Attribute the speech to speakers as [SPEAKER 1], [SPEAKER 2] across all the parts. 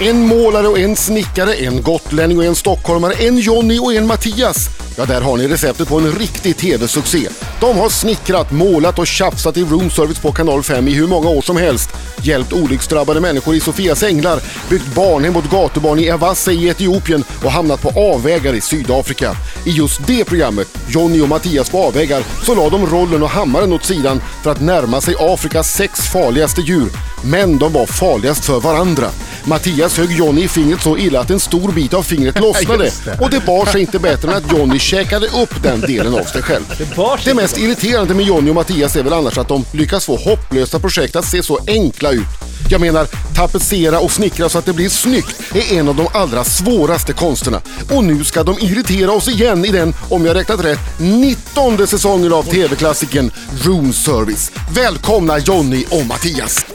[SPEAKER 1] En målare och en snickare, en gotlänning och en stockholmare, en Jonny och en Mattias. Ja, där har ni receptet på en riktig TV-succé. De har snickrat, målat och tjafsat i roomservice på Kanal 5 i hur många år som helst. Hjälpt olycksdrabbade människor i Sofias änglar, byggt barnhem åt gatubarn i Evasse i Etiopien och hamnat på avvägar i Sydafrika. I just det programmet, Jonny och Mattias på avvägar, så la de rollen och hammaren åt sidan för att närma sig Afrikas sex farligaste djur. Men de var farligast för varandra. Mattias högg Jonny i fingret så illa att en stor bit av fingret lossnade
[SPEAKER 2] Just det.
[SPEAKER 1] och det bar sig inte bättre än att Jonny käkade upp den delen av sig själv.
[SPEAKER 2] Det bar sig
[SPEAKER 1] Det
[SPEAKER 2] inte
[SPEAKER 1] mest irriterande med Jonny och Mattias är väl annars att de lyckas få hopplösa projekt att se så enkla ut. Jag menar, tapetsera och snickra så att det blir snyggt är en av de allra svåraste konsterna. Och nu ska de irritera oss igen i den, om jag räknat rätt, 19 säsongen av TV-klassikern Room Service. Välkomna Jonny och Mattias!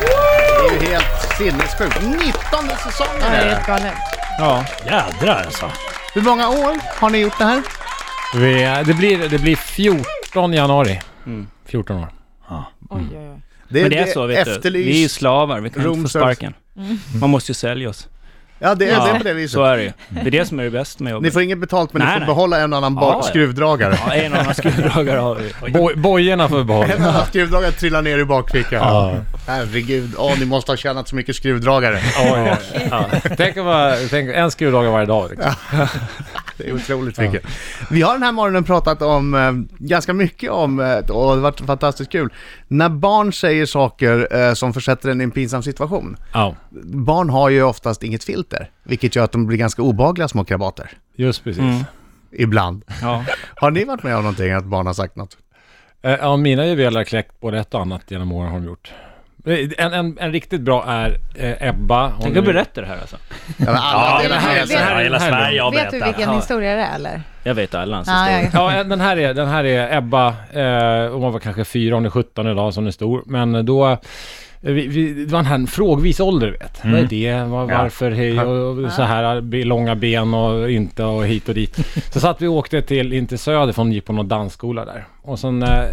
[SPEAKER 3] Det är ju helt sinnessjukt. 19 säsonger
[SPEAKER 4] Ja, det
[SPEAKER 3] är
[SPEAKER 4] är
[SPEAKER 3] det.
[SPEAKER 4] helt galet.
[SPEAKER 2] Ja.
[SPEAKER 5] Jädrar alltså.
[SPEAKER 3] Hur många år har ni gjort det här?
[SPEAKER 5] Vi, eh, det, blir, det blir 14 januari.
[SPEAKER 2] Mm.
[SPEAKER 5] 14 år.
[SPEAKER 4] Oj, oj, oj.
[SPEAKER 5] Men det är så vet du.
[SPEAKER 3] efterlyst.
[SPEAKER 5] Vi är ju slavar, vi kan inte
[SPEAKER 3] room
[SPEAKER 5] få
[SPEAKER 3] service.
[SPEAKER 5] sparken. Man måste ju sälja oss.
[SPEAKER 3] Ja, det är,
[SPEAKER 5] Ja,
[SPEAKER 3] det är på det viset.
[SPEAKER 5] Så är det ju. Det är det som är det bästa med
[SPEAKER 3] Ni
[SPEAKER 5] jobbet.
[SPEAKER 3] får inget betalt men ni
[SPEAKER 5] Nej,
[SPEAKER 3] får
[SPEAKER 5] nej.
[SPEAKER 3] behålla en annan
[SPEAKER 5] Ja,
[SPEAKER 3] bar-
[SPEAKER 5] ja.
[SPEAKER 3] skruvdragare.
[SPEAKER 5] Ja, en annan skruvdragare har vi. Oj.
[SPEAKER 2] Boj, bojorna får vi behålla.
[SPEAKER 3] En annan skruvdragare trillar ner i bakfickan. Herregud, åh ni måste ha tjänat så mycket skruvdragare.
[SPEAKER 2] Ja, ja, ja. Tänk, om man, tänk en skruvdragare varje dag. Liksom.
[SPEAKER 3] Det är otroligt mycket. Vi har den här morgonen pratat om, eh, ganska mycket om, eh, och det har varit fantastiskt kul, när barn säger saker eh, som försätter en i en pinsam situation.
[SPEAKER 2] Ja,
[SPEAKER 3] Barn har ju oftast inget filter, vilket gör att de blir ganska obehagliga små krabater.
[SPEAKER 2] just precis.
[SPEAKER 5] Mm.
[SPEAKER 3] Ibland.
[SPEAKER 5] Ja.
[SPEAKER 3] Har ni varit med om någonting, att barn har sagt något?
[SPEAKER 2] Eh, Ja, mina juveler har kläckt både ett och annat genom åren har de gjort. Eh, En, en, en riktigt bra är eh, Ebba. Hon
[SPEAKER 5] Tänk
[SPEAKER 2] är-
[SPEAKER 5] att berätta det här alltså.
[SPEAKER 3] Ja, men alla
[SPEAKER 4] det
[SPEAKER 3] delar
[SPEAKER 4] här-
[SPEAKER 3] med
[SPEAKER 4] det här-
[SPEAKER 3] sig.
[SPEAKER 5] Ja, alltså. hela Sverige har
[SPEAKER 4] Vet du
[SPEAKER 5] berättat.
[SPEAKER 4] vilken
[SPEAKER 5] Ja.
[SPEAKER 4] historia det är eller?
[SPEAKER 5] Jag vet alla hans
[SPEAKER 4] Ja,
[SPEAKER 5] historia.
[SPEAKER 4] jag-
[SPEAKER 2] Ja, eh, den här är, den här är Ebba, eh, hon var kanske fyra, hon är 17 idag, så hon är stor. Men då, eh, vi, vi, det var den här frågvis ålder, du vet. Vad är det? Var, varför? Hej, och, och så här, be- långa ben och inte och hit och dit. Så satt vi och åkte till, inte söder, för hon gick på någon dansskola där. Och sen... Eh,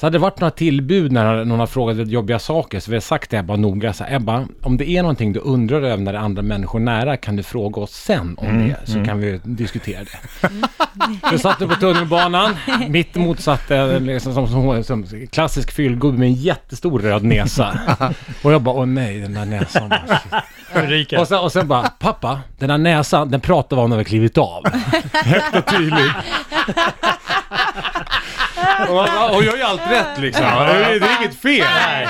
[SPEAKER 2] så hade det varit några tillbud när någon har frågat lite jobbiga saker så vi har sagt till Ebba noga så här, Ebba, om det är någonting du undrar över när det är andra människor nära kan du fråga oss sen om det så kan vi diskutera det. Vi satt på tunnelbanan, mitt emot satt en liksom, som, som, som klassisk fyllgubbe med en jättestor röd näsa. Och jag bara, åh nej, den där näsan. Bara, shit.
[SPEAKER 5] Ulrika.
[SPEAKER 2] Och sen, och sen bara, pappa, den här näsan, den pratar vi om när vi klivit av. Högt och tydligt. och, man bara, och jag gör ju allt rätt liksom. Det är, det är inget fel.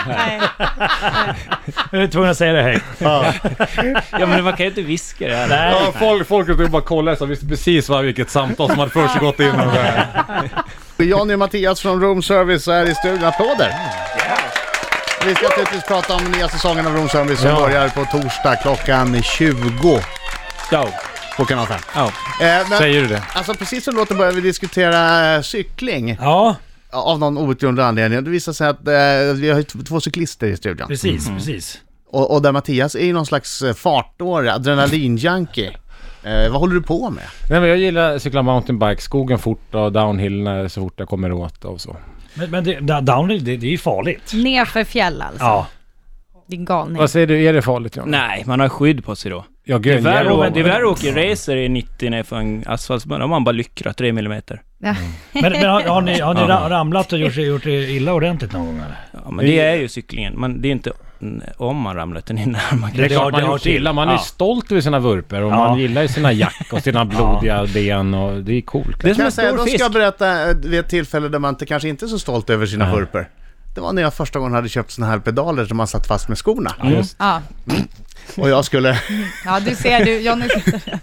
[SPEAKER 4] Nej.
[SPEAKER 5] Jag är tvungen att säga det högt. Ja men man kan ju inte viska det här.
[SPEAKER 2] Ja, folk, folk runt omkring bara kollade så visste precis vad, vilket samtal som hade försiggått innan. det här.
[SPEAKER 3] Johnny och Mattias från Room Service är i studion. Applåder! Vi ska naturligtvis prata om nya säsongen av Room Service som
[SPEAKER 2] Ja.
[SPEAKER 3] börjar på torsdag klockan 20
[SPEAKER 2] Ja,
[SPEAKER 3] på Kanal 5.
[SPEAKER 5] Ja.
[SPEAKER 3] Eh, men,
[SPEAKER 2] säger du det?
[SPEAKER 3] alltså precis som låter börjar vi diskutera eh, cykling
[SPEAKER 5] Ja,
[SPEAKER 3] av någon outgrundlig anledning. Det visar sig att eh, vi har ju t- två cyklister i studion.
[SPEAKER 5] precis, precis.
[SPEAKER 3] Och, och där Mattias är ju någon slags eh, fartdåre, adrenalinjunkie. Eh, vad håller du på med?
[SPEAKER 2] Nej men jag gillar att cykla mountainbike, skogen fort och downhill när- så fort jag kommer åt och så.
[SPEAKER 6] Men, men det, da- downhill, det, det är ju farligt.
[SPEAKER 4] Nerför fjäll alltså.
[SPEAKER 6] Ja.
[SPEAKER 4] Din galning.
[SPEAKER 2] Vad säger du, är det farligt John?
[SPEAKER 5] Nej, man har skydd på sig då.
[SPEAKER 2] Jag
[SPEAKER 5] Det är värre
[SPEAKER 2] gönjer.
[SPEAKER 5] att- det är värre att åka i racer i 90 när för en asfaltsbana. Om man bara lyckrar 3 millimeter.
[SPEAKER 4] Ja.
[SPEAKER 6] Men, men har, har ni, har ni ra- ramlat och gjort, sig- gjort er illa ordentligt någon gång eller?
[SPEAKER 5] Ja, men det är ju cyklingen. Men det är inte om man ramlar utan innan man kan...
[SPEAKER 2] Det är
[SPEAKER 6] Det
[SPEAKER 2] klart
[SPEAKER 6] har-
[SPEAKER 2] man
[SPEAKER 6] det
[SPEAKER 2] har
[SPEAKER 6] har till.
[SPEAKER 2] gillar, man är
[SPEAKER 6] Ja.
[SPEAKER 2] stolt över sina vurpor och
[SPEAKER 6] Ja.
[SPEAKER 2] man gillar ju sina jack och sina blodiga ben och det är coolt.
[SPEAKER 5] Det är
[SPEAKER 3] Kan
[SPEAKER 5] som en
[SPEAKER 3] jag säga,
[SPEAKER 5] stor
[SPEAKER 3] då ska
[SPEAKER 5] fisk.
[SPEAKER 3] jag berätta eh, vid ett tillfälle där man inte, kanske inte är så stolt över sina vurpor. Det var när jag första gången hade köpt såna här pedaler som man satt fast med skorna.
[SPEAKER 4] Ja.
[SPEAKER 3] Och, jag skulle,
[SPEAKER 4] ja, du ser, du, Johnny sitter...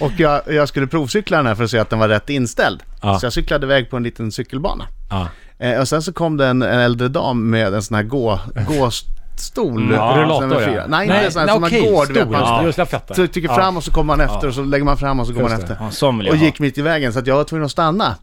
[SPEAKER 3] och jag, jag skulle provcykla den här för att se att den var rätt inställd.
[SPEAKER 2] Ja.
[SPEAKER 3] Så jag cyklade iväg på en liten cykelbana.
[SPEAKER 2] Ja.
[SPEAKER 3] Eh, och sen så kom det en, en äldre dam med en sån här gå, gåstol.
[SPEAKER 2] Ja,
[SPEAKER 3] Som
[SPEAKER 2] rullator,
[SPEAKER 3] är fyra.
[SPEAKER 2] ja.
[SPEAKER 3] Nej, inte sån här som man går. Du vet, man
[SPEAKER 2] ja. Just jag fattar.
[SPEAKER 3] trycker fram och så kommer man efter och så lägger man fram och så går man
[SPEAKER 2] Just det.
[SPEAKER 3] efter.
[SPEAKER 5] Ja, sån vill jag
[SPEAKER 3] och
[SPEAKER 5] ha.
[SPEAKER 3] gick mitt i vägen så att jag var tvungen att stanna.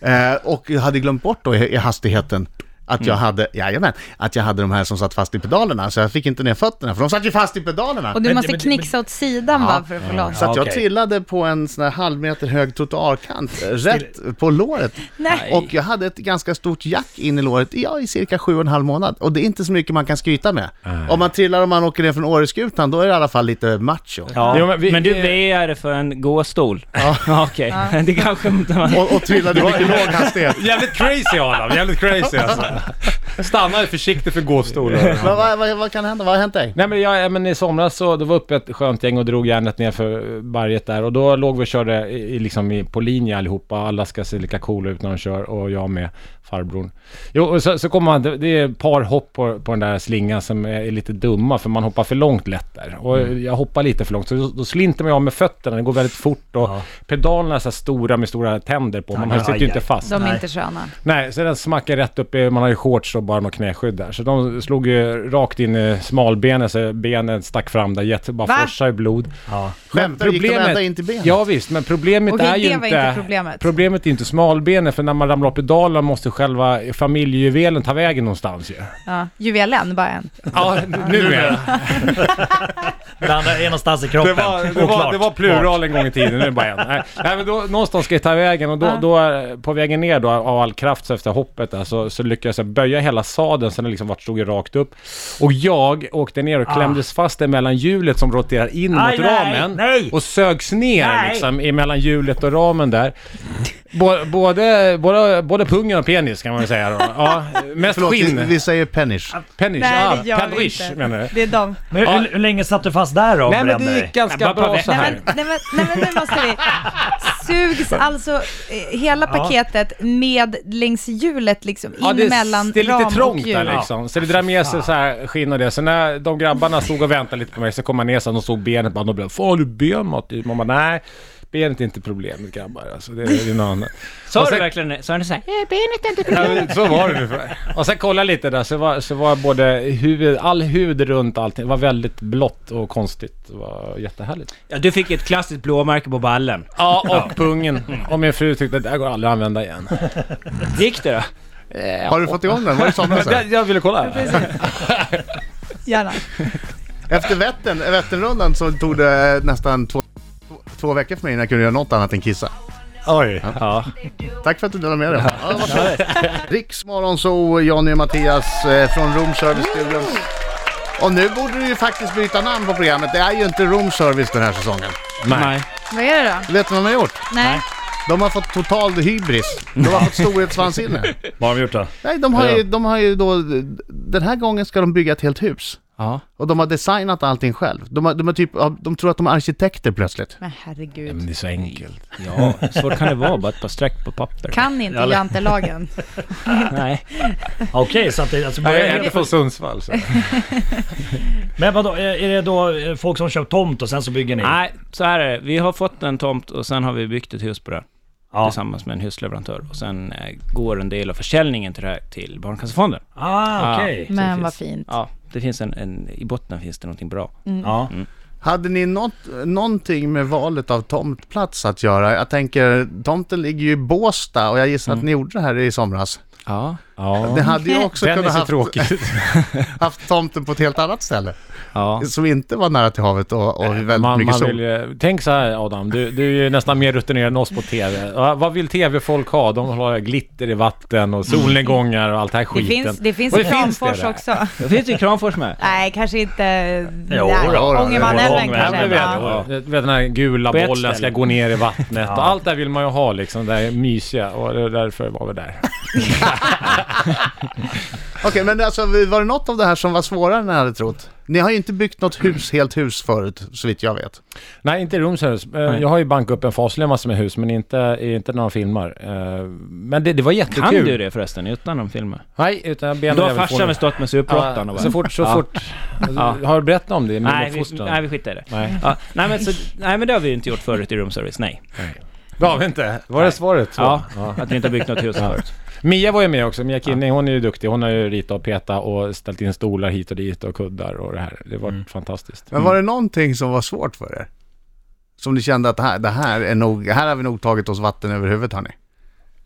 [SPEAKER 3] Eh, och jag hade glömt bort då i, i hastigheten Att jag hade, jajamän, att jag hade de här som satt fast i pedalerna, så jag fick inte ner fötterna, för de satt ju fast i pedalerna.
[SPEAKER 4] Och du
[SPEAKER 6] Men-
[SPEAKER 4] måste
[SPEAKER 6] men-
[SPEAKER 4] knixa åt sidan
[SPEAKER 3] Ja.
[SPEAKER 4] va, för att få loss.
[SPEAKER 3] Så att jag
[SPEAKER 6] Okej.
[SPEAKER 3] trillade på en sån här halvmeter hög trottoarkant, eh, rätt på låret.
[SPEAKER 4] Nej.
[SPEAKER 3] Och jag hade ett ganska stort jack in i låret, ja i cirka sju och en halv månad. Och det är inte så mycket man kan skryta med. Om man trillar och man åker ner från Åreskutan, då är det i alla fall lite macho.
[SPEAKER 2] Jo,
[SPEAKER 5] Ja,
[SPEAKER 2] men
[SPEAKER 5] men,
[SPEAKER 2] vi-
[SPEAKER 5] du
[SPEAKER 2] eh,
[SPEAKER 5] väjer för en gåstol? Ja. Okej, det kanske inte man...
[SPEAKER 3] Och, och trillade i mycket låg hastighet.
[SPEAKER 2] Jävligt crazy Adam, jävligt crazy alltså. Stanna försiktigt för gåstolen.
[SPEAKER 3] Vad vad- vad- vad kan hända? Vad har hänt dig?
[SPEAKER 2] Nej men, jag, ja, men i somras så, det var uppe ett skönt gäng och drog järnet ner för berget där och då låg vi och körde i, i liksom i, på linje allihopa. Alla ska se lika coola ut när de kör och jag med farbrorn. Jo, och så, så kommer man, det, det är ett par hopp på, på den där slingan som är, är lite dumma för man hoppar för långt lätt där. Och
[SPEAKER 6] Mm.
[SPEAKER 2] jag hoppar lite för långt så då, då slinter man ju av med fötterna, det går väldigt fort och pedalerna är så här stora med stora tänder på. Man
[SPEAKER 6] Aj,
[SPEAKER 2] sitter
[SPEAKER 6] aj,
[SPEAKER 2] ju inte
[SPEAKER 6] aj.
[SPEAKER 2] fast.
[SPEAKER 4] De är inte sköna.
[SPEAKER 2] Nej, så den smackade rätt upp i, man har ju shorts och bara något knäskydd där. Så de slog ju rakt in i smalbenet så benen stack fram där, jätte, bara
[SPEAKER 4] Va?
[SPEAKER 2] forsade i blod.
[SPEAKER 6] Ja.
[SPEAKER 3] Skämtar du? Gick de ända in till benet?
[SPEAKER 2] Ja visst, men problemet
[SPEAKER 4] Okej,
[SPEAKER 2] är ju
[SPEAKER 4] det
[SPEAKER 2] inte...
[SPEAKER 4] var inte problemet.
[SPEAKER 2] Problemet är inte smalbenet, för när man ramlar upp i dalen måste själva familjejuvelen ta vägen någonstans ju.
[SPEAKER 4] Ja. Juvelen, bara en.
[SPEAKER 2] Ja, nu är det.
[SPEAKER 6] Det andra är någonstans i kroppen.
[SPEAKER 2] Det var, det, var,
[SPEAKER 6] Oklart.
[SPEAKER 2] det var plural en gång i tiden, nu är det bara en. Nej, nej, men då, någonstans ska jag ta vägen och då,
[SPEAKER 4] Ja.
[SPEAKER 2] då eh, på vägen ner då av all kraft så efter hoppet där, så, så lyckades jag böja hela sadeln så den liksom vart stod ju rakt upp. Och jag åkte ner och klämdes fast emellan hjulet som roterar in
[SPEAKER 6] Ah. Aj,
[SPEAKER 2] mot
[SPEAKER 6] nej,
[SPEAKER 2] ramen
[SPEAKER 6] nej.
[SPEAKER 2] och sögs ner
[SPEAKER 6] Nej.
[SPEAKER 2] liksom emellan hjulet och ramen där. Bå- Både, både, både pungen och penis kan man väl säga då. Ja, mest
[SPEAKER 3] Förlåt, vi,
[SPEAKER 2] skinn.
[SPEAKER 3] vi säger pennish.
[SPEAKER 2] Penis,
[SPEAKER 4] Nej, det
[SPEAKER 2] ja,
[SPEAKER 4] gör vi
[SPEAKER 2] penrish menar du?
[SPEAKER 4] inte. Det är de.
[SPEAKER 6] Men hur, hur länge satt du fast där då? och
[SPEAKER 2] Nej men
[SPEAKER 6] brände
[SPEAKER 2] det
[SPEAKER 6] dig?
[SPEAKER 2] gick ganska
[SPEAKER 5] Bara på
[SPEAKER 2] bra så
[SPEAKER 5] veckan.
[SPEAKER 2] här.
[SPEAKER 4] Nej men, nej, men, nej men nu måste vi. Sugs alltså eh, hela paketet med längs hjulet liksom in
[SPEAKER 2] det,
[SPEAKER 4] mellan
[SPEAKER 2] det är lite
[SPEAKER 4] ram
[SPEAKER 2] trångt
[SPEAKER 4] och hjul.
[SPEAKER 2] där liksom. Så det drar med sig så här skinn och det. Så när de grabbarna stod och väntade lite på mig så kom man ner sen och såg benet bara, de blev Fan har du benmat? Man bara nej, benet är inte problemet grabbar alltså. Det är, det är något annat.
[SPEAKER 5] Sa
[SPEAKER 2] Och
[SPEAKER 5] du
[SPEAKER 2] sen-
[SPEAKER 5] verkligen det? Sa du "Eh?" såhär?
[SPEAKER 2] Ja, men så var det ungefär. Och sen kolla lite där så var, så var både huvud, all hud runt allting, det var väldigt blått och konstigt. Det var jättehärligt.
[SPEAKER 5] Ja, du fick ett klassiskt blåmärke på ballen.
[SPEAKER 2] Ja, och pungen. Och min fru tyckte att det här går aldrig att använda igen.
[SPEAKER 5] Gick det då?
[SPEAKER 3] Har du fått igång den? Var det i somras? eller?
[SPEAKER 2] Jag, jag ville kolla.
[SPEAKER 4] Gärna.
[SPEAKER 3] Efter Vättern, Vätternrundan så tog det eh, nästan två, två veckor för mig innan jag kunde göra något annat än kissa.
[SPEAKER 2] Oj. Ja.
[SPEAKER 3] Tack för att du delade med dig. Ja, varsågod. Riksmorgon så Jonny och Mattias eh, från Room Service Studion. Och nu borde du ju faktiskt byta namn på programmet. Det är ju inte Room Service den här säsongen.
[SPEAKER 5] Nej.
[SPEAKER 4] Vad är det då?
[SPEAKER 3] Vet du vad de har gjort?
[SPEAKER 4] Nej.
[SPEAKER 3] De har fått total hybris. De har fått storhetsvansinne.
[SPEAKER 6] Vad har de gjort då?
[SPEAKER 3] Nej, de har, ju, de har ju då... Den här gången ska de bygga ett helt hus.
[SPEAKER 5] Ja.
[SPEAKER 3] Och de har designat allting själv. De, har, de, har typ, de tror att de är arkitekter plötsligt.
[SPEAKER 4] Men herregud.
[SPEAKER 2] Det är så enkelt.
[SPEAKER 5] Ja, svårt kan det vara bara ett par streck på papper.
[SPEAKER 4] Kan inte jantelagen.
[SPEAKER 5] Nej.
[SPEAKER 6] Okej, så att det, alltså,
[SPEAKER 2] Jag
[SPEAKER 6] börjar,
[SPEAKER 2] är inte från Sundsvall så.
[SPEAKER 6] Men vadå, är är det då eh, folk som köpt tomt och sen så bygger ni?
[SPEAKER 5] Nej, så här är det. Vi har fått en tomt och sen har vi byggt ett hus på det.
[SPEAKER 6] Ja.
[SPEAKER 5] Tillsammans med en husleverantör. Och sen eh, går en del av försäljningen till, det här, till Barncancerfonden.
[SPEAKER 6] Ah, okej.
[SPEAKER 5] Ja.
[SPEAKER 4] Men
[SPEAKER 5] Så det
[SPEAKER 4] vad
[SPEAKER 5] finns-
[SPEAKER 4] fint.
[SPEAKER 5] Ja, det finns en, en... I botten finns det någonting bra.
[SPEAKER 2] Mm.
[SPEAKER 6] Ja. Mm.
[SPEAKER 3] Hade ni något, någonting med valet av tomtplats att göra? Jag tänker, tomten ligger ju i Båstad och jag gissar
[SPEAKER 2] Mm.
[SPEAKER 3] att ni gjorde det här i somras.
[SPEAKER 5] Ja.
[SPEAKER 2] Ja.
[SPEAKER 3] Ni hade ju också
[SPEAKER 2] Mm. Den är
[SPEAKER 3] kunnat
[SPEAKER 2] så
[SPEAKER 3] haft,
[SPEAKER 2] tråkig.
[SPEAKER 3] haft tomten på ett helt annat ställe.
[SPEAKER 5] Ja.
[SPEAKER 3] Som inte var nära till havet och, och väldigt
[SPEAKER 2] Man,
[SPEAKER 3] mycket
[SPEAKER 2] man
[SPEAKER 3] sol.
[SPEAKER 2] vill, ju- tänk så här Adam, du, du är ju nästan mer rutinerad än oss på TV. Ja, Vad vill TV-folk ha? De vill ha glitter i vatten och solnedgångar och allt det här
[SPEAKER 4] Det
[SPEAKER 2] skiten.
[SPEAKER 4] finns, det finns
[SPEAKER 2] Och
[SPEAKER 4] i Kramfors
[SPEAKER 2] där.
[SPEAKER 4] också.
[SPEAKER 5] Då finns det ju Kramfors med.
[SPEAKER 4] Nej, kanske inte...
[SPEAKER 6] Jo,
[SPEAKER 4] Nej,
[SPEAKER 6] då,
[SPEAKER 3] då.
[SPEAKER 4] Ångermanälven
[SPEAKER 2] Ja,
[SPEAKER 4] kanske.
[SPEAKER 2] men vet,
[SPEAKER 4] Ja.
[SPEAKER 2] ja. Du vet den här gula
[SPEAKER 5] På ett
[SPEAKER 2] bollen ska
[SPEAKER 5] ställe.
[SPEAKER 2] gå ner i vattnet och allt det här vill man ju ha liksom, det här mysiga och det är därför var vi där.
[SPEAKER 3] Okej, men alltså, var det något av det här som var svårare än ni hade trott? Ni har ju inte byggt något hus, helt hus förut, så vitt jag vet.
[SPEAKER 2] Nej, inte i Romshus. Jag har ju bankat upp en faslig massa med hus, men inte, inte när de filmar. Eh, Men det, det var jättekul.
[SPEAKER 5] Kan du det förresten, utan de filmer?
[SPEAKER 2] Nej, utan jag ber
[SPEAKER 5] Då har
[SPEAKER 2] någon jävel få
[SPEAKER 5] farsan
[SPEAKER 2] nu.
[SPEAKER 5] väl stått med superåttan och
[SPEAKER 2] Så fort, så fort. Har du berättat om det?
[SPEAKER 5] Nej vi,
[SPEAKER 2] Milofostran?
[SPEAKER 5] nej, vi skitar i det.
[SPEAKER 2] Nej.
[SPEAKER 5] Ja, nej, men så, nej, men det har vi ju inte gjort förut i roomservice, nej.
[SPEAKER 2] Det har vi inte. Var det svaret? så?
[SPEAKER 5] Ja, att vi inte har byggt något hus förut.
[SPEAKER 2] Mia var ju med också. Mia Kinney, hon är ju duktig. Hon har ju ritat och petat och ställt in stolar hit och dit och kuddar och det här. Det var fantastiskt.
[SPEAKER 3] Men var det någonting som var svårt för er? Som ni kände att det här, det här är nog, här har vi nog tagit oss vatten över huvudet hörni.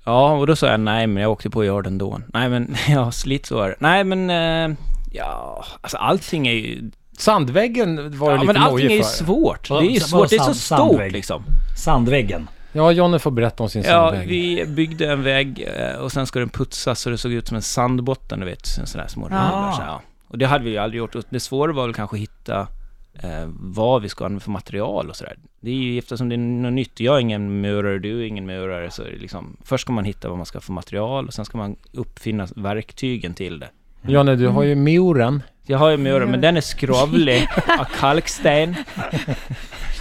[SPEAKER 5] Ja, och då sa jag nej, men jag åkte på yard ändå. Nej, men ja, slit så är det. Nej, men eh, ja, alltså allting är ju...
[SPEAKER 2] Mm. Sandväggen var ju
[SPEAKER 5] Ja,
[SPEAKER 2] lite
[SPEAKER 5] men allting är
[SPEAKER 2] nojig
[SPEAKER 5] ju
[SPEAKER 2] för.
[SPEAKER 5] svårt. Det
[SPEAKER 6] Vad-
[SPEAKER 5] är ju
[SPEAKER 6] vad
[SPEAKER 5] svårt. Det är så
[SPEAKER 6] sand-
[SPEAKER 5] stort
[SPEAKER 6] sandvägg?
[SPEAKER 5] liksom.
[SPEAKER 6] Sandväggen.
[SPEAKER 2] Ja, Jonny får berätta om sin
[SPEAKER 5] Ja,
[SPEAKER 2] sandvägg.
[SPEAKER 5] vi byggde en vägg eh, och sen ska den putsas så det såg ut som en sandbotten, du vet. en sån där små rundar, så här, ja. Och det hade vi ju aldrig gjort. Och det svåra var väl kanske att hitta eh, vad vi ska använda för material och sådär. Det är ju eftersom det är något nytt. Jag är ingen murare, du är ingen murare. Så är det liksom, först ska man hitta vad man ska ha för material och sen ska man uppfinna verktygen till det.
[SPEAKER 2] Jonny, du har ju muren.
[SPEAKER 5] Jag har ju murare, men den är skrovlig av kalksten.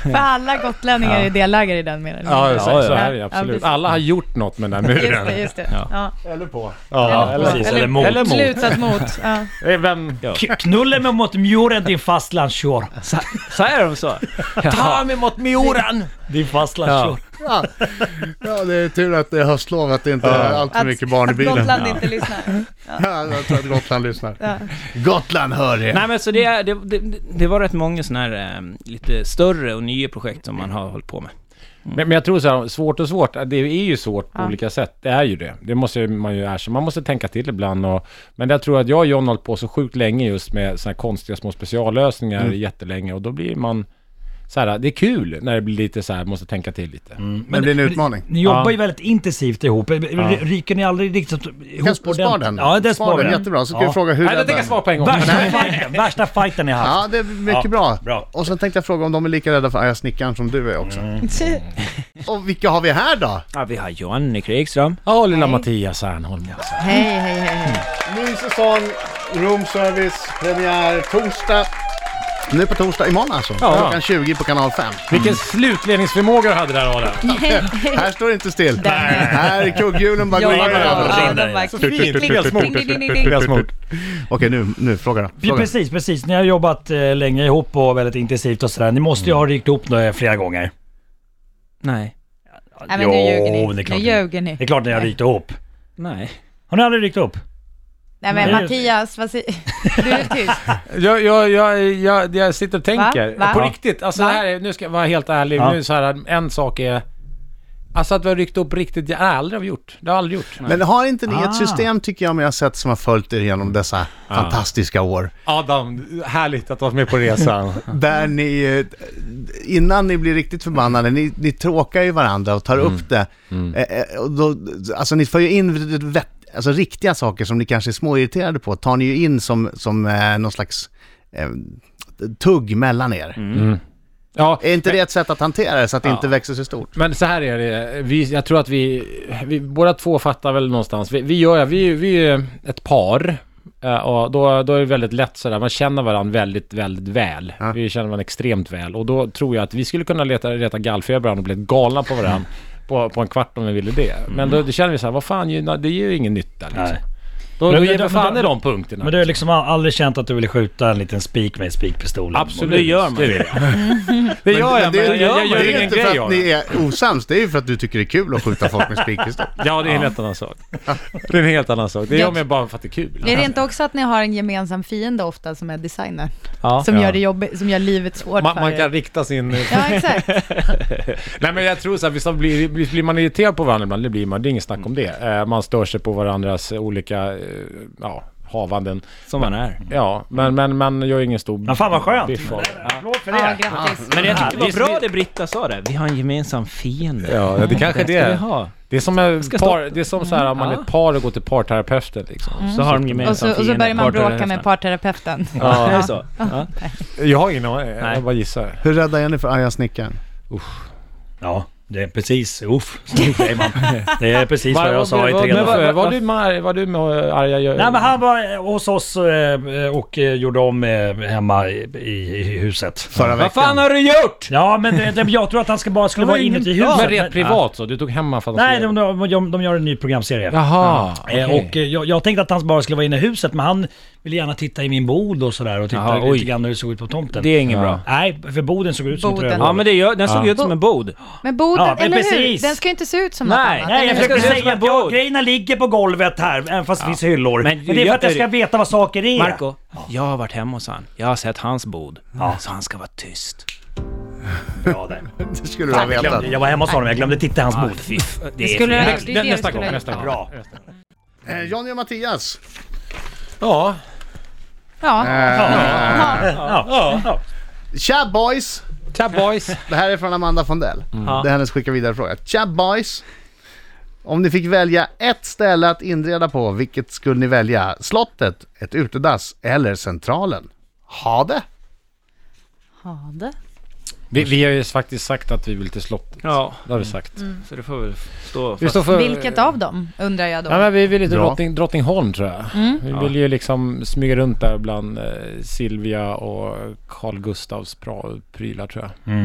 [SPEAKER 4] För alla gotlänningar är delägare i den menar
[SPEAKER 2] Ja, så,
[SPEAKER 5] ja.
[SPEAKER 2] så är det ju,
[SPEAKER 4] Ja,
[SPEAKER 2] absolut.
[SPEAKER 4] precis.
[SPEAKER 2] Alla har gjort något med den där
[SPEAKER 4] Just
[SPEAKER 2] muren.
[SPEAKER 4] det, just det.
[SPEAKER 5] Ja.
[SPEAKER 4] Ja.
[SPEAKER 6] Ja, precis. Eller mot.
[SPEAKER 2] Eller mot.
[SPEAKER 4] Lutat mot. Ja.
[SPEAKER 2] Eh, Vem?
[SPEAKER 6] K- Knulla mig mot muren din fastlandstjur.
[SPEAKER 5] Så, så är de så? Ta mig mot muren!
[SPEAKER 6] Din fastlandstjur.
[SPEAKER 3] Ja. ja, det är tur att det är höstlov, att det inte är allt för mycket barn i
[SPEAKER 4] att
[SPEAKER 3] bilen.
[SPEAKER 4] Gotland inte lyssnar.
[SPEAKER 3] Ja, jag tror att Gotland lyssnar.
[SPEAKER 4] Ja.
[SPEAKER 3] Gotland hör er!
[SPEAKER 5] Nej men så det, är- det, det, det var rätt många sådana här eh, lite större och nya projekt som man har hållit på med.
[SPEAKER 2] Men, men jag tror så här, svårt och svårt, det är ju svårt på
[SPEAKER 4] Ja.
[SPEAKER 2] olika sätt. Det är ju det. Det måste ju- man ju erkänna. Man måste tänka till ibland och... Men jag tror att jag och John har hållit på så sjukt länge just med såna här konstiga små speciallösningar jättelänge och då blir man... Så här, det är kul när det blir lite så här, måste tänka till lite.
[SPEAKER 3] Men det blir en utmaning.
[SPEAKER 6] Ni jobbar ju väldigt intensivt ihop. R- Ryker ni aldrig riktigt ihop?
[SPEAKER 3] kan spara
[SPEAKER 6] ordentligt?
[SPEAKER 3] den.
[SPEAKER 6] Ja, den
[SPEAKER 3] Spara
[SPEAKER 6] sparar
[SPEAKER 3] den.
[SPEAKER 6] den.
[SPEAKER 3] Jättebra, så ska vi fråga hur
[SPEAKER 2] Nej, det
[SPEAKER 3] rädd
[SPEAKER 2] tänker jag
[SPEAKER 3] är.
[SPEAKER 2] svara på en gång.
[SPEAKER 6] Värsta fighten, värsta fighten ni haft.
[SPEAKER 3] Ja, det är mycket
[SPEAKER 6] Ja,
[SPEAKER 3] bra. Mm.
[SPEAKER 6] bra.
[SPEAKER 3] Och sen tänkte jag fråga om de är lika rädda för arga snickaren som du är också. Och vilka har vi här då?
[SPEAKER 5] Ja, vi har Johnny Krigström.
[SPEAKER 2] Ja, lilla Mattias Ernholm. Alltså.
[SPEAKER 4] Hej, hej, hej, hej.
[SPEAKER 3] Ny säsong, room service, premiär torsdag. Nu på torsdag, imorgon alltså.
[SPEAKER 2] Ja.
[SPEAKER 3] Klockan 20 på kanal 5.
[SPEAKER 2] Vilken slutledningsförmåga du hade där Adam.
[SPEAKER 3] Här står det inte still.
[SPEAKER 4] Den.
[SPEAKER 3] Här är kugghjulen bara
[SPEAKER 4] Ja,
[SPEAKER 3] går
[SPEAKER 4] ja, ja,
[SPEAKER 3] över.
[SPEAKER 4] de bara
[SPEAKER 2] Så fint.
[SPEAKER 4] klick, klick,
[SPEAKER 2] Klick,
[SPEAKER 4] klick,
[SPEAKER 2] klick,
[SPEAKER 4] ding, ding, ding, ding.
[SPEAKER 3] Okej, nu, nu fråga då.
[SPEAKER 6] Ja,
[SPEAKER 3] Fråga.
[SPEAKER 6] precis, precis. Ni har jobbat eh, länge ihop och väldigt intensivt och sådär. Ni måste ju ha rykt ihop några flera gånger.
[SPEAKER 5] Nej.
[SPEAKER 4] Nej, men nu ljuger ni.
[SPEAKER 6] Jo, det är klart
[SPEAKER 4] nu
[SPEAKER 6] ni-
[SPEAKER 4] ljuger ni.
[SPEAKER 6] Det är klart ni har rykt ihop.
[SPEAKER 5] Nej.
[SPEAKER 6] Har ni aldrig rykt ihop?
[SPEAKER 4] Nej, men
[SPEAKER 6] Nej.
[SPEAKER 4] Mattias, vad säger... Du är tyst.
[SPEAKER 2] Jag, jag, jag, jag, jag sitter och tänker.
[SPEAKER 4] Va? Va?
[SPEAKER 2] På
[SPEAKER 4] Ja.
[SPEAKER 2] riktigt. Alltså
[SPEAKER 4] Va?
[SPEAKER 2] det här är, nu ska jag vara helt ärlig.
[SPEAKER 6] Ja.
[SPEAKER 2] Nu så här, en sak är... Alltså att vi har ryckt upp riktigt, det har jag aldrig gjort. Det har jag aldrig gjort.
[SPEAKER 3] Men har inte ni
[SPEAKER 6] Ah.
[SPEAKER 3] ett system tycker jag mig ha sett som har följt er genom dessa fantastiska år?
[SPEAKER 2] Adam, härligt att du varit med på resan.
[SPEAKER 3] Där ni, eh, innan ni blir riktigt förbannade, ni, ni tråkar ju varandra och tar
[SPEAKER 2] Mm.
[SPEAKER 3] upp det. Eh, eh, och då, alltså ni får ju in vett, alltså, riktiga saker som ni kanske är småirriterade på, tar ni ju in som, som eh, någon slags eh, tugg mellan er.
[SPEAKER 2] Mm. ja,
[SPEAKER 3] Är inte det ett sätt att hantera det så att det inte växer så stort?
[SPEAKER 2] men så här är det. Vi, jag tror att vi, vi... Båda två fattar väl någonstans. Vi, vi gör... Vi, vi är ett par. Eh, Och då, då är det väldigt lätt sådär, man känner varandra väldigt, väldigt väl. Vi känner varandra extremt väl. Och då tror jag att vi skulle kunna leta, reta gallfeber på varandra och bli galna på varandra på, på en kvart om vi ville det. Men då, då känner vi så här, vad fan, ju- det ger ju ingen nytta liksom.
[SPEAKER 6] Nej.
[SPEAKER 2] Då,
[SPEAKER 6] Men-
[SPEAKER 2] då
[SPEAKER 6] men-
[SPEAKER 2] ger vi
[SPEAKER 6] men-
[SPEAKER 2] fan
[SPEAKER 6] men-
[SPEAKER 2] i de punkterna.
[SPEAKER 6] Men du har liksom aldrig känt att du ville skjuta en liten spik med en spikpistol?
[SPEAKER 2] Absolut. Det gör man. Det, det gör
[SPEAKER 3] Men
[SPEAKER 2] jag, men,
[SPEAKER 3] det är- det
[SPEAKER 2] jag, jag gör
[SPEAKER 3] är
[SPEAKER 2] ingen
[SPEAKER 3] inte för
[SPEAKER 2] grej
[SPEAKER 3] att
[SPEAKER 2] av
[SPEAKER 3] ni
[SPEAKER 2] det.
[SPEAKER 3] är osams, det är ju för att du tycker det är kul att skjuta folk med spikpistol.
[SPEAKER 2] Ja, det är en helt annan sak. Det är en helt annan sak. Det gör man bara för att det är kul.
[SPEAKER 4] Är det inte också att ni har en gemensam fiende ofta som är designer?
[SPEAKER 5] Ja.
[SPEAKER 4] Som, gör, det jobbigt, som gör livet svårt
[SPEAKER 2] Man,
[SPEAKER 4] för
[SPEAKER 2] man
[SPEAKER 4] er?
[SPEAKER 2] kan rikta sin...
[SPEAKER 4] Ja, exakt.
[SPEAKER 2] Nej men jag tror så här, visst blir, visst blir man irriterad på varandra ibland, det blir man, det är inget snack om det. Eh, Man stör sig på varandras olika, eh, ja, havanden.
[SPEAKER 5] Som man är.
[SPEAKER 2] Ja, men, men man gör ingen stor...
[SPEAKER 6] Ja, fan vad skönt.
[SPEAKER 2] biff av det.
[SPEAKER 6] Applåd för
[SPEAKER 4] Ja,
[SPEAKER 6] det.
[SPEAKER 4] grattis.
[SPEAKER 5] Men jag tyckte det
[SPEAKER 2] Ja,
[SPEAKER 5] var
[SPEAKER 2] vi-
[SPEAKER 5] bra det Britta sa det. Vi har en gemensam fiende.
[SPEAKER 2] Ja, det kanske är
[SPEAKER 5] Mm. Ska vi
[SPEAKER 2] det.
[SPEAKER 5] ha.
[SPEAKER 2] Det är som, ett
[SPEAKER 5] stoppa.
[SPEAKER 2] par, det är som så här, om man är ett par och går till parterapeuten liksom.
[SPEAKER 5] Så har de gemensam
[SPEAKER 4] Och så, och så
[SPEAKER 5] fiende.
[SPEAKER 4] börjar man
[SPEAKER 5] Parterapeuten.
[SPEAKER 4] bråka med parterapeuten.
[SPEAKER 5] Ja, det är så. Ja.
[SPEAKER 2] Jag har ingen aning,
[SPEAKER 5] Nej.
[SPEAKER 2] jag bara gissar.
[SPEAKER 3] Hur rädda är ni för arga snickaren?
[SPEAKER 6] Ja, det är precis. Uff, snyggt säger man. Det är precis vad jag sa i tre
[SPEAKER 2] men,
[SPEAKER 6] dagar.
[SPEAKER 2] vad- Var du med, var du med eh, arga...
[SPEAKER 6] Nej men han var eh, hos oss eh, och eh, gjorde om eh, hemma i, i, i huset.
[SPEAKER 3] Förra
[SPEAKER 2] Vad
[SPEAKER 3] veckan?
[SPEAKER 2] fan har du gjort?
[SPEAKER 6] Ja men det, det, jag tror att han ska bara skulle vara inuti huset.
[SPEAKER 2] Men rent privat så? Du tog hem han för att han
[SPEAKER 6] Nej,
[SPEAKER 2] skulle-
[SPEAKER 6] de, de, de, de gör en ny programserie.
[SPEAKER 2] Jaha,
[SPEAKER 6] Eh,
[SPEAKER 2] okej.
[SPEAKER 6] Och eh, jag, jag tänkte att han bara skulle vara inne i huset men han ville gärna titta i min bod och sådär och titta
[SPEAKER 5] Jaha,
[SPEAKER 6] lite
[SPEAKER 5] oj.
[SPEAKER 6] grann hur det såg ut på tomten.
[SPEAKER 5] Det är inget bra.
[SPEAKER 6] Nej, för boden såg ut som
[SPEAKER 4] Boden.
[SPEAKER 6] ett
[SPEAKER 5] Ja
[SPEAKER 6] rövhål.
[SPEAKER 5] men det gör, den såg ut som en bod.
[SPEAKER 4] Men boden,
[SPEAKER 6] Ja, men
[SPEAKER 4] eller
[SPEAKER 6] precis.
[SPEAKER 4] hur? Den ska ju inte se ut som något
[SPEAKER 5] Nej,
[SPEAKER 4] annat.
[SPEAKER 6] Nej, jag
[SPEAKER 4] eller
[SPEAKER 6] försöker
[SPEAKER 4] hur?
[SPEAKER 5] Det är
[SPEAKER 6] säga att
[SPEAKER 5] som en
[SPEAKER 6] jag,
[SPEAKER 5] båt.
[SPEAKER 6] grejerna ligger på golvet här, även fast det finns hyllor.
[SPEAKER 5] Men du
[SPEAKER 6] Men, det är för
[SPEAKER 5] gör
[SPEAKER 6] att jag ska
[SPEAKER 5] det.
[SPEAKER 6] veta vad saker är.
[SPEAKER 5] Marco, jag har varit hemma hos han. Jag har sett hans bod. Så han ska vara tyst.
[SPEAKER 6] Ja, nej.
[SPEAKER 3] Det skulle du ha
[SPEAKER 6] Jag,
[SPEAKER 3] vetat.
[SPEAKER 6] glömde, jag var hemma hos honom, jag glömde titta i hans
[SPEAKER 5] Ah,
[SPEAKER 6] bord.
[SPEAKER 5] fy, f- det är
[SPEAKER 4] skulle
[SPEAKER 5] för
[SPEAKER 4] det-
[SPEAKER 5] jävligt.
[SPEAKER 4] det är det jag
[SPEAKER 2] nästa
[SPEAKER 4] skulle
[SPEAKER 2] gång,
[SPEAKER 4] ha
[SPEAKER 2] nästa gång.
[SPEAKER 6] Bra.
[SPEAKER 3] Eh, Johnny och Mattias.
[SPEAKER 2] Ja,
[SPEAKER 4] Ja,
[SPEAKER 6] Ja, ja, ja.
[SPEAKER 3] Tja boys!
[SPEAKER 2] Tja boys.
[SPEAKER 3] Det här är från Amanda Fondell.
[SPEAKER 2] Mm.
[SPEAKER 3] Det är hennes skicka vidare fråga. Tja boys! Om ni fick välja ett ställe att inreda på, vilket skulle ni välja? Slottet, ett utedass eller Centralen? Ha det!
[SPEAKER 4] ja det.
[SPEAKER 2] Vi, vi har ju faktiskt sagt att vi vill till slottet.
[SPEAKER 5] Ja,
[SPEAKER 2] Det har vi sagt.
[SPEAKER 5] så det får väl stå
[SPEAKER 2] Vi
[SPEAKER 5] fast.
[SPEAKER 2] står för...
[SPEAKER 4] Mm. Vilket av dem, undrar jag då?
[SPEAKER 2] Ja, men vi vill ju till
[SPEAKER 3] Bra.
[SPEAKER 2] Drottning, Drottningholm tror jag.
[SPEAKER 4] Mm.
[SPEAKER 2] Vi vill ju liksom smyga runt där bland eh, Silvia och Carl Gustavs pra- prylar tror jag.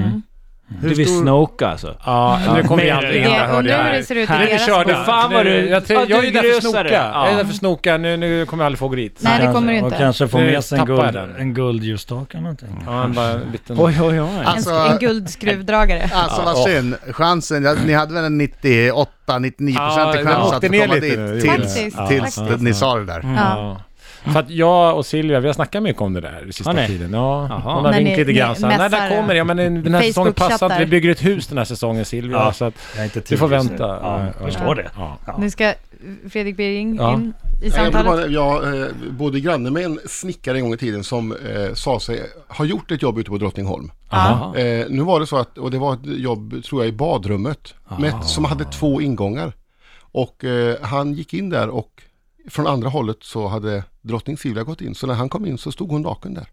[SPEAKER 5] Du vill snoka alltså?
[SPEAKER 2] Ja, nu kommer vi aldrig
[SPEAKER 4] Det-
[SPEAKER 2] in där,
[SPEAKER 4] undrar
[SPEAKER 2] hörde jag.
[SPEAKER 4] hur
[SPEAKER 2] här.
[SPEAKER 4] det ser ut i
[SPEAKER 2] Nu är vi
[SPEAKER 4] deras
[SPEAKER 2] körda.
[SPEAKER 4] bord.
[SPEAKER 5] Fan, vad
[SPEAKER 2] Nu-
[SPEAKER 5] du-
[SPEAKER 2] jag, tror-
[SPEAKER 5] ja,
[SPEAKER 2] jag är
[SPEAKER 5] du
[SPEAKER 2] ju där för
[SPEAKER 5] grösare.
[SPEAKER 2] snoka. Jag är
[SPEAKER 5] Ja.
[SPEAKER 2] där för snoka. Nu, nu kommer jag aldrig få gå dit.
[SPEAKER 4] Nej, det
[SPEAKER 6] Kanske-
[SPEAKER 4] kommer du
[SPEAKER 6] Och
[SPEAKER 4] inte.
[SPEAKER 6] kanske få
[SPEAKER 2] Nu
[SPEAKER 6] med sig en,
[SPEAKER 2] tappar jag
[SPEAKER 6] guld,
[SPEAKER 2] den.
[SPEAKER 6] en guldljusstake eller någonting.
[SPEAKER 2] Ja, en bara en liten...
[SPEAKER 5] Oj, oj, oj.
[SPEAKER 4] En,
[SPEAKER 3] Alltså-
[SPEAKER 4] en guldskruvdragare.
[SPEAKER 3] Alltså vad synd. Chansen, ja, ni hade väl en 98-99%
[SPEAKER 2] Ja, den
[SPEAKER 3] chans
[SPEAKER 2] åkte
[SPEAKER 3] att
[SPEAKER 2] ner
[SPEAKER 3] komma
[SPEAKER 2] lite
[SPEAKER 3] dit
[SPEAKER 2] nu,
[SPEAKER 4] gjorde
[SPEAKER 3] tills,
[SPEAKER 4] den.
[SPEAKER 3] tills,
[SPEAKER 4] Faktiskt,
[SPEAKER 2] faktiskt.
[SPEAKER 3] ni sa det där.
[SPEAKER 2] Mm.
[SPEAKER 4] Ja.
[SPEAKER 2] Ja. För att jag och Silvia, vi har snackat mycket om det där den sista
[SPEAKER 5] Har ni?
[SPEAKER 2] tiden. Ja,
[SPEAKER 5] Jaha.
[SPEAKER 2] hon har
[SPEAKER 4] Men
[SPEAKER 2] ringt
[SPEAKER 4] ni-
[SPEAKER 2] lite grann
[SPEAKER 4] ni
[SPEAKER 2] så här, När där
[SPEAKER 4] messar,
[SPEAKER 2] kommer det? Ja men den den här säsongen passar inte.
[SPEAKER 4] Facebook-chattar.
[SPEAKER 2] Vi bygger ett hus den här säsongen Silvia.
[SPEAKER 6] Ja.
[SPEAKER 2] Så att
[SPEAKER 6] Jag är inte
[SPEAKER 2] du
[SPEAKER 6] tid
[SPEAKER 2] får
[SPEAKER 6] just nu.
[SPEAKER 2] vänta.
[SPEAKER 6] Ja, jag förstår det.
[SPEAKER 2] Ja.
[SPEAKER 4] Nu ska Fredrik Bering
[SPEAKER 2] Ja.
[SPEAKER 4] in i
[SPEAKER 1] Jag, vill
[SPEAKER 4] samtalet.
[SPEAKER 1] bara, jag eh, bodde granne med en snickare en gång i tiden som eh, sa sig ha gjort ett jobb ute på Drottningholm.
[SPEAKER 2] Aha.
[SPEAKER 1] Eh, nu var det så att, och det var ett jobb tror jag i badrummet, med, som hade två ingångar. Och eh, han gick in där och från andra hållet så hade drottning Silvia gått in. Så när han kom in så stod hon naken där.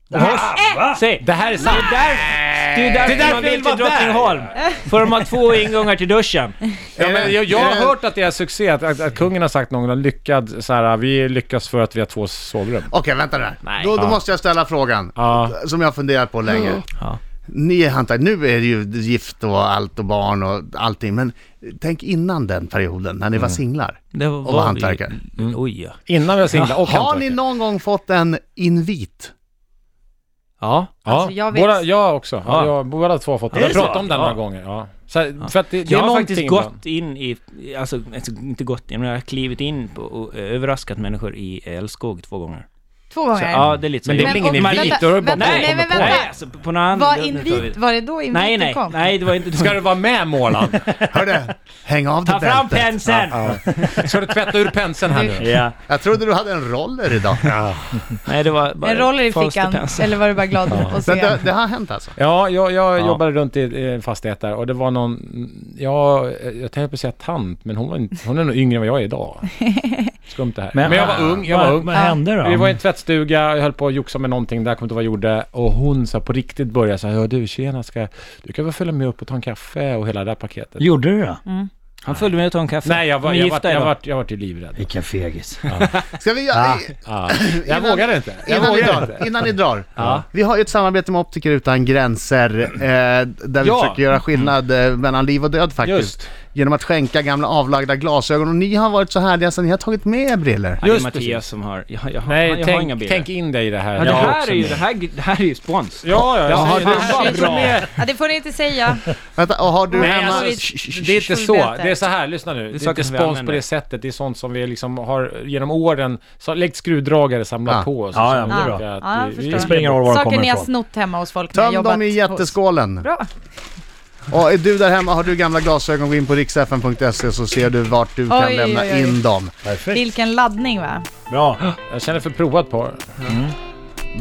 [SPEAKER 5] Säg!
[SPEAKER 2] Det här är sant.
[SPEAKER 5] Det är ju
[SPEAKER 2] Det är
[SPEAKER 5] därför
[SPEAKER 2] därför
[SPEAKER 5] man
[SPEAKER 2] jag
[SPEAKER 5] vill
[SPEAKER 2] vill
[SPEAKER 5] till
[SPEAKER 2] vara där.
[SPEAKER 5] Drottningholm. För de har två ingångar till duschen.
[SPEAKER 2] Ja, men jag, jag har hört att det är succé, att, att, att kungen har sagt någon gång lyckad, så här, vi lyckas för att vi har två sovrum.
[SPEAKER 3] Okej, vänta där.
[SPEAKER 5] Nej.
[SPEAKER 3] Då, då måste jag ställa frågan.
[SPEAKER 2] Ja.
[SPEAKER 3] Som jag har funderat på länge.
[SPEAKER 5] Ja.
[SPEAKER 3] Ni är hantverk, nu är det ju gift och allt och barn och allting. Men tänk innan den perioden när ni
[SPEAKER 5] Mm.
[SPEAKER 3] var singlar.
[SPEAKER 5] Det var,
[SPEAKER 3] Och hantverkare.
[SPEAKER 5] Mm. Oj ja.
[SPEAKER 2] Innan vi har singlat och
[SPEAKER 3] Har ni
[SPEAKER 2] hantverkare.
[SPEAKER 3] någon gång fått en invit?
[SPEAKER 5] Ja.
[SPEAKER 2] Ja,
[SPEAKER 4] Alltså, jag vet-
[SPEAKER 2] båda, jag också.
[SPEAKER 5] Ja.
[SPEAKER 2] Ja. Jag, båda två har fått det.
[SPEAKER 5] Är
[SPEAKER 2] Jag
[SPEAKER 5] det
[SPEAKER 2] pratat
[SPEAKER 5] så?
[SPEAKER 2] om den några
[SPEAKER 5] Ja.
[SPEAKER 2] gånger. Ja. Så, här, för att det, det
[SPEAKER 5] Jag
[SPEAKER 2] är
[SPEAKER 5] har
[SPEAKER 2] någonting
[SPEAKER 5] faktiskt gått
[SPEAKER 2] ibland.
[SPEAKER 5] in i, alltså, alltså inte gått in, men jag har klivit in på och eh, överraskat människor i Älvskog två gånger.
[SPEAKER 4] Två
[SPEAKER 5] Så,
[SPEAKER 4] gånger.
[SPEAKER 5] ja, det är lite så.
[SPEAKER 2] Men det är
[SPEAKER 5] Jag-
[SPEAKER 2] väl ingen
[SPEAKER 4] och-
[SPEAKER 2] invit? Då har du bara
[SPEAKER 4] vänta,
[SPEAKER 5] Nej,
[SPEAKER 4] nej, men vänta.
[SPEAKER 5] Nej, alltså, på någon annan...
[SPEAKER 4] Var
[SPEAKER 5] nu tar vi-
[SPEAKER 4] invit, var det då inviten
[SPEAKER 5] Nej, nej,
[SPEAKER 4] kom?
[SPEAKER 5] nej, det var inte...
[SPEAKER 2] Ska du vara med Målan?
[SPEAKER 3] Hörde, häng av dig
[SPEAKER 5] Ta fram
[SPEAKER 3] bältet.
[SPEAKER 5] penseln!
[SPEAKER 2] Ska du tvätta ur penseln här nu?
[SPEAKER 6] Ja.
[SPEAKER 3] Jag trodde du hade en roller idag.
[SPEAKER 5] Nej, det var bara...
[SPEAKER 4] En roller i fickan,
[SPEAKER 5] fönsterpensel.
[SPEAKER 4] eller var du bara glad att
[SPEAKER 3] Men
[SPEAKER 4] se?
[SPEAKER 3] det, det har hänt alltså?
[SPEAKER 2] Ja, jag, jag
[SPEAKER 5] Ja.
[SPEAKER 2] jobbade runt i i en fastighet där och det var någon, ja, jag tänkte på att säga tant, men hon, var, inte- hon är nog yngre än vad jag är idag. Skumt det här. Men, jag var ung, jag var
[SPEAKER 6] vad,
[SPEAKER 2] ung.
[SPEAKER 6] Vad hände då?
[SPEAKER 2] Vi var i en tvättstuga, jag höll på att joxa med någonting, där kommer inte vad jag gjorde. Och hon så här, på riktigt började så här, "Hör du tjena, ska, du kan väl följa med upp och ta en kaffe och hela det där paketet.
[SPEAKER 6] Gjorde du det?
[SPEAKER 5] Han följde med och tog en kaffe.
[SPEAKER 2] Nej, jag var,
[SPEAKER 5] De är
[SPEAKER 2] jag var,
[SPEAKER 5] gifta
[SPEAKER 2] jag
[SPEAKER 5] idag.
[SPEAKER 2] var, jag var ju livrädd.
[SPEAKER 6] Vilken fegis.
[SPEAKER 3] Ska vi göra...
[SPEAKER 6] Ah.
[SPEAKER 2] Ja. Jag vågade inte. Jag
[SPEAKER 3] Innan ni
[SPEAKER 2] vågade
[SPEAKER 3] drar,
[SPEAKER 2] inte.
[SPEAKER 3] innan ni drar. Vi har ju ett samarbete med Optiker Utan Gränser eh, där vi
[SPEAKER 2] Ja.
[SPEAKER 3] försöker göra skillnad eh, mellan liv och död faktiskt.
[SPEAKER 2] Just.
[SPEAKER 3] Genom att skänka gamla avlagda glasögon. Och ni har varit så härliga så ni har tagit med er briller.
[SPEAKER 5] Ja, det är
[SPEAKER 2] Just
[SPEAKER 5] Mattias
[SPEAKER 2] precis.
[SPEAKER 5] som har... Jag, jag, Nej, jag
[SPEAKER 2] Nej,
[SPEAKER 5] har inga
[SPEAKER 2] tänk,
[SPEAKER 5] bilder.
[SPEAKER 2] tänk in dig i det här.
[SPEAKER 5] ja, det,
[SPEAKER 2] Jag
[SPEAKER 5] här
[SPEAKER 2] också
[SPEAKER 5] är ju,
[SPEAKER 2] med.
[SPEAKER 5] det, här, det här är ju spons.
[SPEAKER 2] Ja, ja,
[SPEAKER 5] Jaha,
[SPEAKER 2] jag säger det.
[SPEAKER 5] det
[SPEAKER 2] här
[SPEAKER 5] var
[SPEAKER 2] är ju
[SPEAKER 5] bra.
[SPEAKER 2] med.
[SPEAKER 4] Ja, det får ni inte säga.
[SPEAKER 3] Vänta, och har du
[SPEAKER 2] Nej,
[SPEAKER 3] hemma...
[SPEAKER 2] alltså, det är inte så. Det är så här, lyssna nu.
[SPEAKER 5] Det är
[SPEAKER 2] Det är inte
[SPEAKER 5] saker som vi
[SPEAKER 2] spons på
[SPEAKER 5] använder.
[SPEAKER 2] det sättet. Det är sånt som vi liksom har genom åren så, läggt skruvdragare samlat
[SPEAKER 3] Ja.
[SPEAKER 2] på oss.
[SPEAKER 6] Ja, ja, men
[SPEAKER 4] det är
[SPEAKER 2] Så
[SPEAKER 6] bra.
[SPEAKER 2] tycker jag att
[SPEAKER 4] Ja, jag
[SPEAKER 2] vi-
[SPEAKER 4] förstår.
[SPEAKER 2] vi-
[SPEAKER 6] Det spelar ingen roll var de
[SPEAKER 4] Saker
[SPEAKER 6] kommer
[SPEAKER 4] ni har
[SPEAKER 6] ifrån.
[SPEAKER 4] snott hemma hos folk när jag
[SPEAKER 3] Töm
[SPEAKER 4] jobbat
[SPEAKER 3] dem i
[SPEAKER 4] hos...
[SPEAKER 3] jätteskålen.
[SPEAKER 4] Bra.
[SPEAKER 3] Och är du där hemma, har du gamla glasögon, gå in på riksfn.se så ser du vart du kan
[SPEAKER 4] Oj,
[SPEAKER 3] lämna
[SPEAKER 4] oj, oj.
[SPEAKER 3] in dem.
[SPEAKER 6] Perfekt.
[SPEAKER 4] Vilken laddning va?
[SPEAKER 6] Bra.
[SPEAKER 2] Jag känner för provat på det.
[SPEAKER 6] Mm.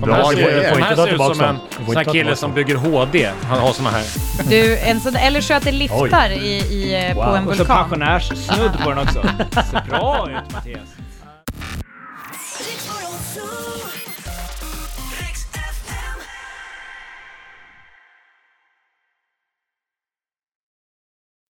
[SPEAKER 3] Bra
[SPEAKER 2] här
[SPEAKER 3] grejer.
[SPEAKER 2] ser,
[SPEAKER 3] Du får
[SPEAKER 2] de
[SPEAKER 6] inte
[SPEAKER 2] här
[SPEAKER 6] dra
[SPEAKER 2] ser ut
[SPEAKER 6] tillbaka
[SPEAKER 2] som
[SPEAKER 6] dem.
[SPEAKER 2] en
[SPEAKER 6] Du får
[SPEAKER 2] sån
[SPEAKER 6] inte
[SPEAKER 2] här
[SPEAKER 6] dra
[SPEAKER 2] kille
[SPEAKER 6] tillbaka
[SPEAKER 2] som
[SPEAKER 6] dem.
[SPEAKER 2] bygger HD. Han har såna här.
[SPEAKER 4] Du, en sån, eller sköter liftar i, i, eh, på
[SPEAKER 6] Wow.
[SPEAKER 4] en
[SPEAKER 5] Och så
[SPEAKER 2] Alltså,
[SPEAKER 4] vulkan.
[SPEAKER 5] pensionärssnudd på den också. Ser bra ut Mattias.